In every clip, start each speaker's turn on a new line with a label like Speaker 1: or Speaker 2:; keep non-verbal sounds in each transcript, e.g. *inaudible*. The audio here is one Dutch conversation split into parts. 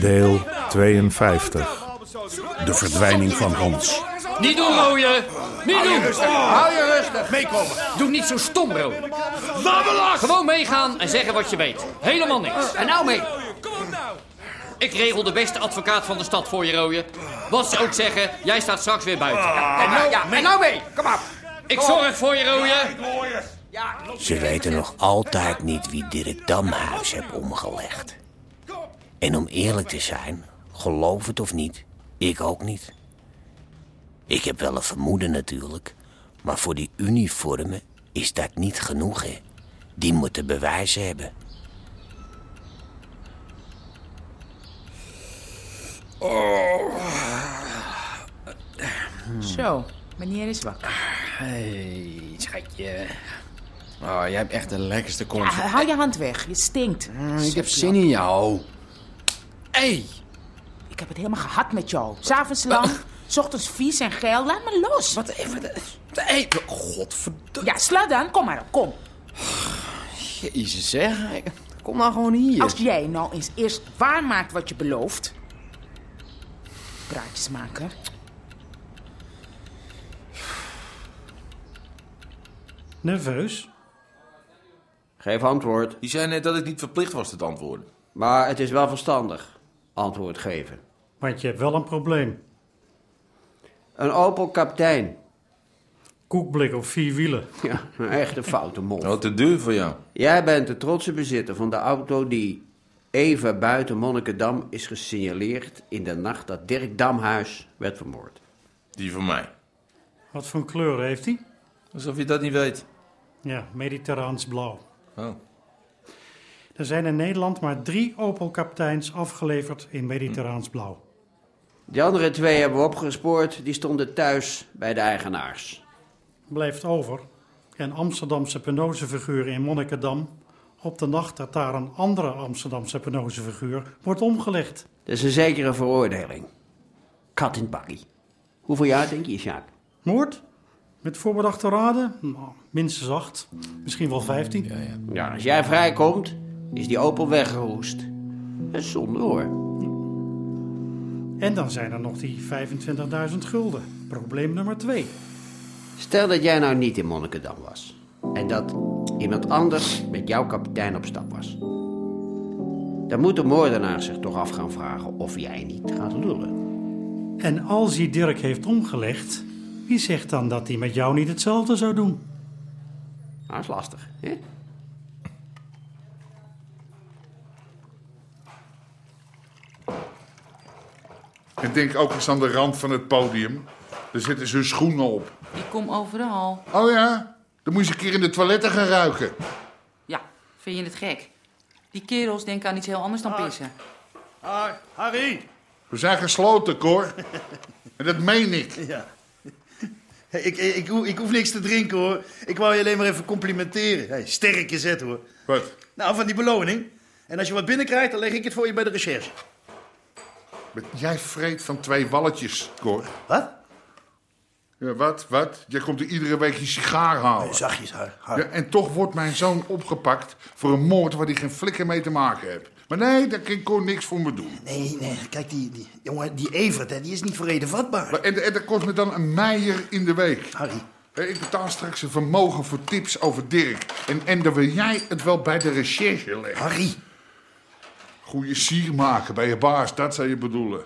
Speaker 1: Deel 52. De verdwijning van Hans.
Speaker 2: Niet doen, rooien! Niet doen!
Speaker 3: Hou je rustig. Meekomen.
Speaker 2: Doe niet zo stom, rooien. Gewoon meegaan en zeggen wat je weet. Helemaal niks. En nou mee. Ik regel de beste advocaat van de stad voor je, rooien. Wat ze ook zeggen, jij staat straks weer buiten.
Speaker 3: En nou, ja, en nou mee. Kom op.
Speaker 2: Ik zorg voor je, rooien.
Speaker 4: Ze weten nog altijd niet wie Dirk Damhuis heeft omgelegd. En om eerlijk te zijn, geloof het of niet, ik ook niet. Ik heb wel een vermoeden natuurlijk, maar voor die uniformen is dat niet genoeg, hè. Die moeten bewijzen hebben.
Speaker 5: Zo, meneer is wakker.
Speaker 6: Hey, schatje. Oh, jij hebt echt de lekkerste kont.
Speaker 5: Ah, hou je hand weg, je stinkt.
Speaker 6: ik heb zin in jou. hey,
Speaker 5: Ik heb het helemaal gehad met jou. S'avonds lang, s ochtends vies en geil. Laat me los.
Speaker 6: wat even. hey, godverdomme.
Speaker 5: Ja, sla dan. Kom maar op, kom.
Speaker 6: Jezus, zeg. Ik- Kom nou gewoon hier.
Speaker 5: Als jij nou eens eerst waarmaakt wat je belooft... Praatjes maken.
Speaker 7: Nerveus?
Speaker 8: Geef antwoord.
Speaker 9: Die zei net dat ik niet verplicht was te antwoorden.
Speaker 8: Maar het is wel verstandig antwoord geven.
Speaker 7: Want je hebt wel een probleem.
Speaker 8: Een Opel kaptein.
Speaker 7: Koekblik op vier wielen.
Speaker 8: Ja, een echte foute mond.
Speaker 9: Wat te duur voor jou.
Speaker 8: Jij bent de trotse bezitter van de auto die even buiten Monnikendam is gesignaleerd in de nacht dat Dirk Damhuis werd vermoord.
Speaker 9: Die van mij.
Speaker 7: Wat voor kleur heeft hij?
Speaker 9: Alsof je dat niet weet.
Speaker 7: Ja, mediterraans blauw.
Speaker 9: Oh.
Speaker 7: Er zijn in Nederland maar drie Opel-kapteins afgeleverd in mediterraans blauw.
Speaker 8: Die andere twee hebben we opgespoord, die stonden thuis bij de eigenaars.
Speaker 7: Blijft over. En Amsterdamse penozefiguren in Monnikendam... op de nacht dat daar een andere Amsterdamse penozefiguur wordt omgelegd.
Speaker 8: Dat is een zekere veroordeling. Kat in het bakkie. Hoeveel jaar denk je, Sjaak?
Speaker 7: Moord? Met voorbedachte raden? Nou, minstens acht. Misschien wel vijftien.
Speaker 8: Ja, als jij vrijkomt, is die Opel weggeroest. Dat is zonde hoor.
Speaker 7: En dan zijn er nog die 25.000 gulden. Probleem nummer twee.
Speaker 8: Stel dat jij nou niet in Monnikendam was. En dat iemand anders met jouw kapitein op stap was. Dan moet de moordenaar zich toch af gaan vragen of jij niet gaat lullen.
Speaker 7: En als hij Dirk heeft omgelegd, wie zegt dan dat hij met jou niet hetzelfde zou doen?
Speaker 8: Dat Ah, is lastig, hè?
Speaker 10: En denk ook eens aan de rand van het podium. Daar zitten ze hun schoenen op.
Speaker 5: Ik kom overal.
Speaker 10: Oh ja? Dan moet je eens een keer in de toiletten gaan ruiken.
Speaker 11: Ja, vind je het gek? Die kerels denken aan iets heel anders
Speaker 5: Ah.
Speaker 11: dan pissen.
Speaker 3: Harry.
Speaker 10: We zijn gesloten, Cor. En dat meen ik.
Speaker 3: Ja. Hey, ik, ik, ik, hoef, ik hoef niks te drinken hoor. Ik wou je alleen maar even complimenteren. Hey, sterk je zet hoor.
Speaker 10: Wat?
Speaker 3: Nou, van die beloning. En als je wat binnenkrijgt, dan leg ik het voor je bij de recherche.
Speaker 10: Wat Jij vreet van twee walletjes, Cor.
Speaker 3: Wat?
Speaker 10: Ja, wat, wat? Jij komt er iedere week je sigaar
Speaker 3: Oh.
Speaker 10: halen.
Speaker 3: Zachtjes, haar.
Speaker 10: Ja, en toch wordt mijn zoon opgepakt voor een moord waar hij geen flikker mee te maken heeft. Maar nee, daar kan Cor niks voor me doen.
Speaker 3: Nee, nee. Kijk, die, die jongen, die Evert, hè, die is niet voor reden vatbaar.
Speaker 10: Maar- En, en dat kost me dan een meijer in de week.
Speaker 3: Harry.
Speaker 10: Hé, Ik betaal straks een vermogen voor tips over Dirk. En, en dan wil jij het wel bij de recherche leggen.
Speaker 3: Harry.
Speaker 10: Goeie sier maken bij je baas, dat zou je bedoelen.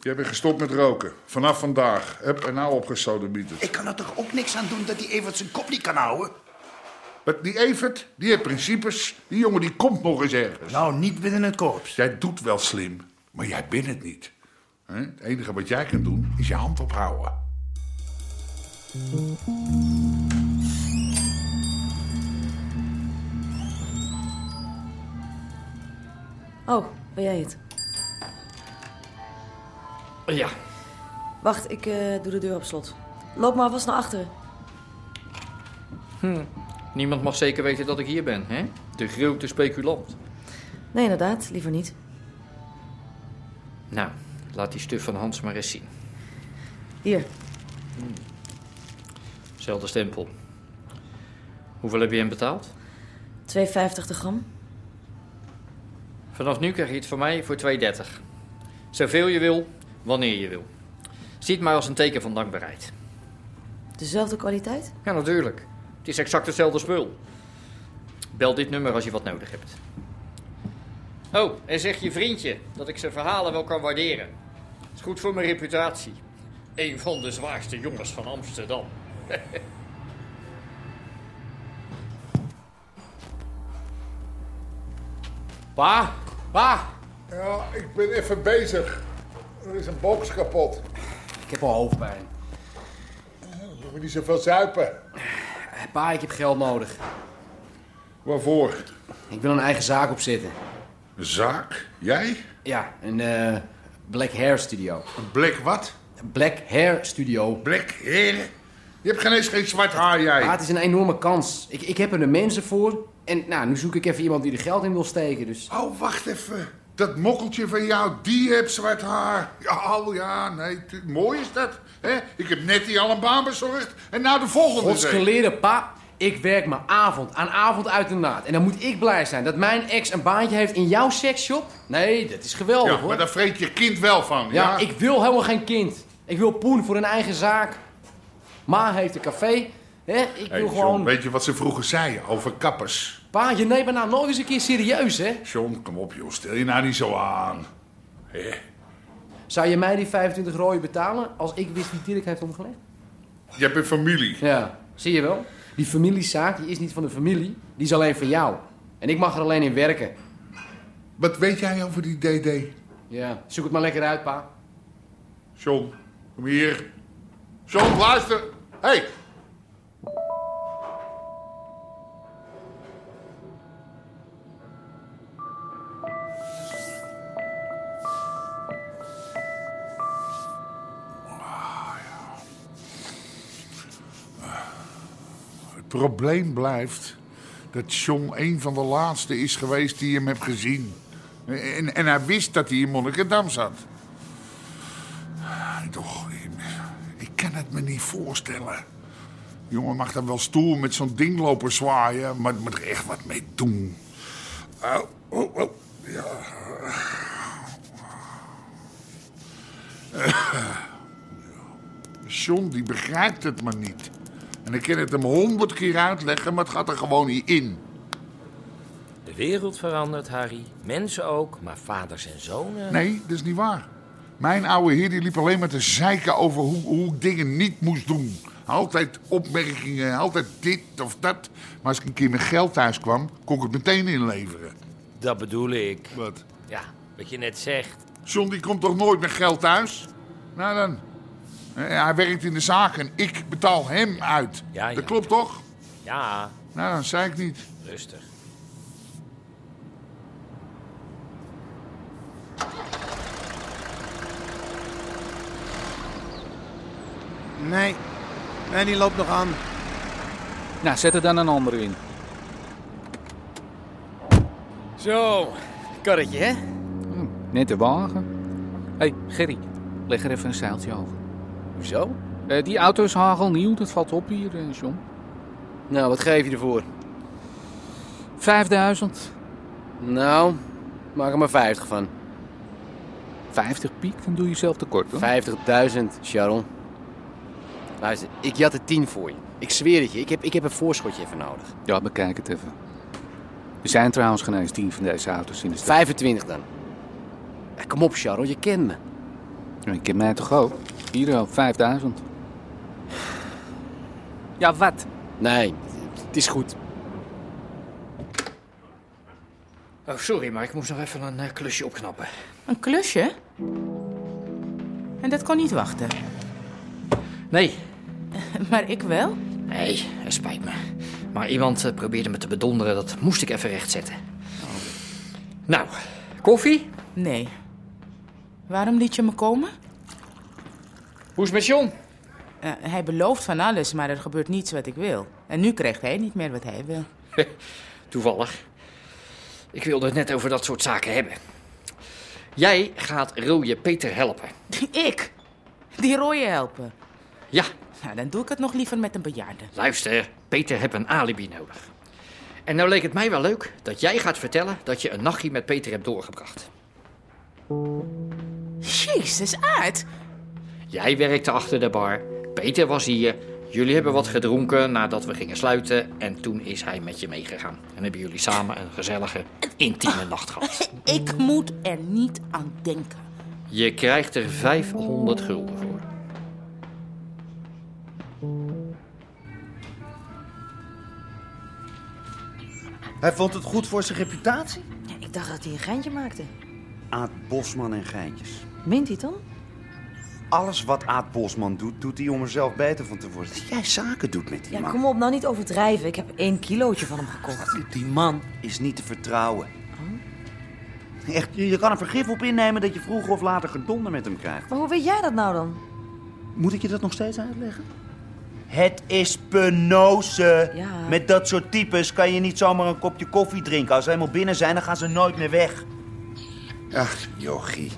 Speaker 10: Jij bent gestopt met roken. Vanaf vandaag. Heb er nou opgesodemieterd.
Speaker 3: Ik kan er toch ook niks aan doen dat die Evert zijn kop niet kan houden?
Speaker 10: Maar die Evert, die heeft principes. Die jongen die komt nog eens ergens.
Speaker 3: Nou, niet binnen het korps.
Speaker 10: Jij doet wel slim, maar jij bent het niet. Hè? Hè? Het enige wat jij kunt doen, is je hand ophouden.
Speaker 12: Oh, ben jij het?
Speaker 2: Ja.
Speaker 12: Wacht, ik eh, doe de deur op slot. Loop maar vast naar achteren.
Speaker 2: Hm. Niemand mag zeker weten dat ik hier ben, hè? De grote speculant.
Speaker 12: Nee, inderdaad, liever niet.
Speaker 2: Nou, laat die stuf van Hans maar eens zien.
Speaker 12: Hier,
Speaker 2: Zelfde stempel. Hoeveel heb je hem betaald?
Speaker 12: 2,50 de gram.
Speaker 2: Vanaf nu krijg je het van mij voor 2,30. Zoveel je wil, wanneer je wil. Ziet maar als een teken van dankbaarheid.
Speaker 12: Dezelfde kwaliteit?
Speaker 2: Ja, natuurlijk. Het is exact hetzelfde spul. Bel dit nummer als je wat nodig hebt. Oh, en zeg je vriendje dat ik zijn verhalen wel kan waarderen. Is goed voor mijn reputatie. Een van de zwaarste jongens van Amsterdam. *laughs* pa, pa.
Speaker 13: Ja, ik ben even bezig. Er is een box kapot.
Speaker 6: Ik heb al hoofdpijn.
Speaker 13: Dan moet je niet zoveel zuipen.
Speaker 6: Pa, ik heb geld nodig.
Speaker 10: Waarvoor?
Speaker 6: Ik wil een eigen zaak opzetten.
Speaker 10: Zaak? Jij?
Speaker 6: Ja, een eh, Black Hair Studio.
Speaker 10: Een Black wat?
Speaker 6: Black Hair Studio.
Speaker 10: Black Hair? Je hebt geen eens geen zwart haar, jij.
Speaker 6: Pa, het is een enorme kans. Ik, ik heb er de mensen voor. En nou, nu zoek ik even iemand die er geld in wil steken, dus...
Speaker 10: Oh, wacht even. Dat mokkeltje van jou, die heeft zwart haar. Ja, oh ja, nee, tu- mooi is dat. hè? Ik heb net die al een baan bezorgd. En nou de volgende. zee.
Speaker 6: Godsgeleerde pa, ik werk mijn avond aan avond uit de naad. En dan moet ik blij zijn dat mijn ex een baantje heeft in jouw seksshop? Nee, dat is geweldig
Speaker 10: Ja,
Speaker 6: hoor.
Speaker 10: maar daar vreet je kind wel van, ja?
Speaker 6: Ja, ik wil helemaal geen kind. Ik wil poen voor een eigen zaak. Ma heeft een café. Hè? Ik
Speaker 10: Hey,
Speaker 6: wil
Speaker 10: John,
Speaker 6: gewoon...
Speaker 10: weet je wat ze vroeger zeiden over kappers?
Speaker 6: Pa, je neemt me nou nooit eens een keer serieus, hè?
Speaker 10: John, kom op joh, stel je nou niet zo aan. Hè?
Speaker 6: Zou je mij die 25 rooien betalen als ik wist wie Dirk heeft omgelegd?
Speaker 10: Je hebt een familie.
Speaker 6: Ja, zie je wel. Die familiezaak die is niet van de familie, die is alleen van jou. En ik mag er alleen in werken.
Speaker 10: Wat weet jij over die DD?
Speaker 6: Ja, zoek het maar lekker uit, pa.
Speaker 10: John, kom hier. John, luister. Hé, hey, Het probleem blijft dat John een van de laatste is geweest die hem heeft gezien. En, en hij wist dat hij in Monnikendam zat. Toch, ik, ik kan het me niet voorstellen. Jongen mag dan wel stoer met zo'n ding lopen zwaaien, maar moet er echt wat mee doen. Au, oh, oh, ja. Eh, John, die begrijpt het maar niet. En ik kan het hem honderd keer uitleggen, maar het gaat er gewoon niet in.
Speaker 14: De wereld verandert, Harry. Mensen ook, maar vaders en zonen...
Speaker 10: Nee, dat is niet waar. Mijn oude heer die liep alleen maar te zeiken over hoe, hoe ik dingen niet moest doen. Altijd opmerkingen, altijd dit of dat. Maar als ik een keer met geld thuis kwam, kon ik het meteen inleveren.
Speaker 14: Dat bedoel ik.
Speaker 10: Wat?
Speaker 14: Ja, wat je net zegt.
Speaker 10: John die komt toch nooit met geld thuis? Nou dan. Eh, Hij werkt in de zaak en ik betaal hem uit.
Speaker 14: Ja, ja.
Speaker 10: Dat klopt toch?
Speaker 14: Ja,
Speaker 10: Nou, dan zei ik niet.
Speaker 14: rustig.
Speaker 15: Nee. Nee, die loopt nog aan.
Speaker 16: Nou, zet er dan een andere in.
Speaker 15: Zo, karretje, hè?
Speaker 16: Net de wagen. Hé, hey, Gerry, leg er even een zeiltje over.
Speaker 6: Hoezo?
Speaker 16: Eh, die auto is hagelnieuw, dat valt op hier, eh, John.
Speaker 6: Nou, wat geef je ervoor?
Speaker 16: 5000.
Speaker 6: Nou, maak er maar 50 van.
Speaker 16: 50 piek, dan doe je zelf tekort hoor.
Speaker 6: 50.000, Sharon. Luister, ik jat er 10 voor je. Ik zweer het je, ik heb, ik heb een voorschotje even nodig.
Speaker 16: Ja, bekijk het even. Er zijn trouwens geen eens 10 van deze auto's in de stad.
Speaker 6: 25 dan. Ja, kom op, Sharon, je kent me.
Speaker 16: Ja, Je kent mij toch ook? Hier al, 5000. Ja, wat?
Speaker 6: Nee, het is goed.
Speaker 2: Oh, sorry, maar ik moest nog even een eh, klusje opknappen.
Speaker 11: Een klusje?
Speaker 5: En dat kon niet wachten.
Speaker 6: Nee.
Speaker 5: Maar ik wel?
Speaker 6: Nee, het spijt me. Maar iemand eh, probeerde me te bedonderen, dat moest ik even rechtzetten. Nou, koffie?
Speaker 5: Nee. Waarom liet je me komen?
Speaker 6: Hoe is het met John?
Speaker 5: Nou, hij belooft van alles, maar er gebeurt niets wat ik wil. En nu krijgt hij niet meer wat hij wil.
Speaker 6: Toevallig. Ik wilde het net over dat soort zaken hebben. Jij gaat rode Peter helpen.
Speaker 5: *laughs* Ik? Die rooie helpen?
Speaker 6: Ja.
Speaker 5: Nou, dan doe ik het nog liever met een bejaarde.
Speaker 6: Luister, Peter heeft een alibi nodig. En nou leek het mij wel leuk dat jij gaat vertellen dat je een nachtje met Peter hebt doorgebracht.
Speaker 5: Jezus, aard.
Speaker 6: Jij werkte achter de bar, Peter was hier, jullie hebben wat gedronken nadat we gingen sluiten en toen is hij met je meegegaan. En hebben jullie samen een gezellige, intieme nacht gehad.
Speaker 5: Ik moet er niet aan denken.
Speaker 6: Je krijgt er 500 gulden voor.
Speaker 17: Hij vond het goed voor zijn reputatie?
Speaker 10: Ja, ik dacht dat hij een geintje maakte.
Speaker 17: Aad Bosman en geintjes.
Speaker 10: Meent hij het dan?
Speaker 17: Alles wat Aad Bosman doet, doet hij om er zelf beter van te worden. Dat jij zaken doet met die
Speaker 10: Ja,
Speaker 17: man.
Speaker 10: kom op, nou niet overdrijven. Ik heb één kilootje van hem gekocht.
Speaker 17: Die man is niet te vertrouwen.
Speaker 10: Oh.
Speaker 17: Echt, je je kan er vergif op innemen dat je vroeger of later gedonder met hem krijgt.
Speaker 10: Maar hoe weet jij dat nou dan?
Speaker 17: Moet ik je dat nog steeds uitleggen? Het is penose.
Speaker 10: Ja.
Speaker 17: Met dat soort types kan je niet zomaar een kopje koffie drinken. Als ze helemaal binnen zijn, dan gaan ze nooit meer weg. Ach, jochie.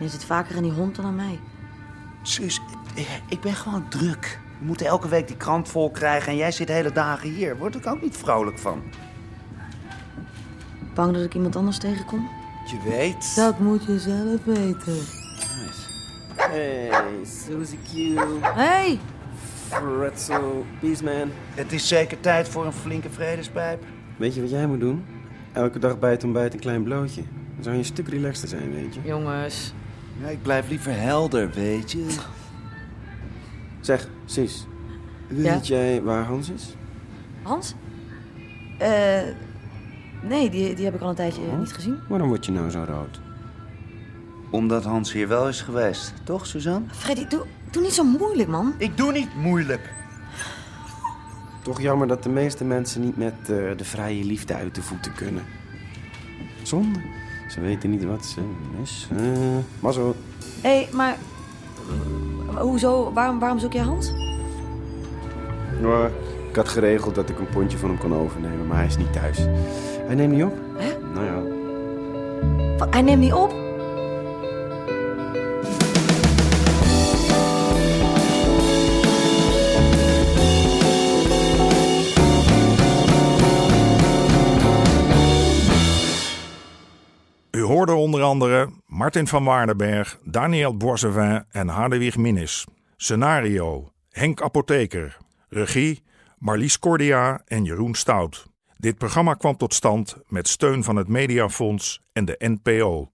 Speaker 10: Je zit vaker in die hond dan aan mij.
Speaker 17: Sus, ik ben gewoon druk. We moeten elke week die krant vol krijgen en jij zit de hele dagen hier. Word ik ook niet vrolijk van.
Speaker 10: Bang dat ik iemand anders tegenkom?
Speaker 17: Je weet.
Speaker 10: Dat moet je zelf weten.
Speaker 8: Hey, Suzy Q.
Speaker 10: Hey!
Speaker 8: Fretzel, Beastman.
Speaker 17: Het is zeker tijd voor een flinke vredespijp.
Speaker 8: Weet je wat jij moet doen? Elke dag bij het ontbijt een klein blootje. Dan zou je een stuk relaxter zijn, weet je.
Speaker 10: Jongens.
Speaker 17: Ja, ik blijf liever helder, weet je.
Speaker 8: Zeg, Sis. Weet jij waar Hans is?
Speaker 10: Hans? Eh. nee, die, die heb ik al een tijdje eh, niet gezien.
Speaker 8: Waarom word je nou zo rood?
Speaker 17: Omdat Hans hier wel is geweest. Toch, Suzanne?
Speaker 10: Freddy, doe, doe niet zo moeilijk, man.
Speaker 17: Ik doe niet moeilijk.
Speaker 8: Toch jammer dat de meeste mensen niet met eh, de vrije liefde uit de voeten kunnen. Zonde. Ze weten niet wat ze is. Eh, maar zo.
Speaker 10: Hé, hey, maar. eh, Hoezo? Waarom, waarom zoek jij Hans?
Speaker 8: Ja, Nou, ik had geregeld dat ik een pondje van hem kon overnemen, maar hij is niet thuis. Hij neemt niet op.
Speaker 10: Hè?
Speaker 8: Nou ja,
Speaker 10: Wat, Hij neemt niet op.
Speaker 1: U hoorde onder andere Martin van Waardenberg, Daniel Boisevin en Hadewig Minnis. Scenario: Henk Apotheker. Regie: Marlies Cordia en Jeroen Stout. Dit programma kwam tot stand met steun van het Mediafonds en de NPO.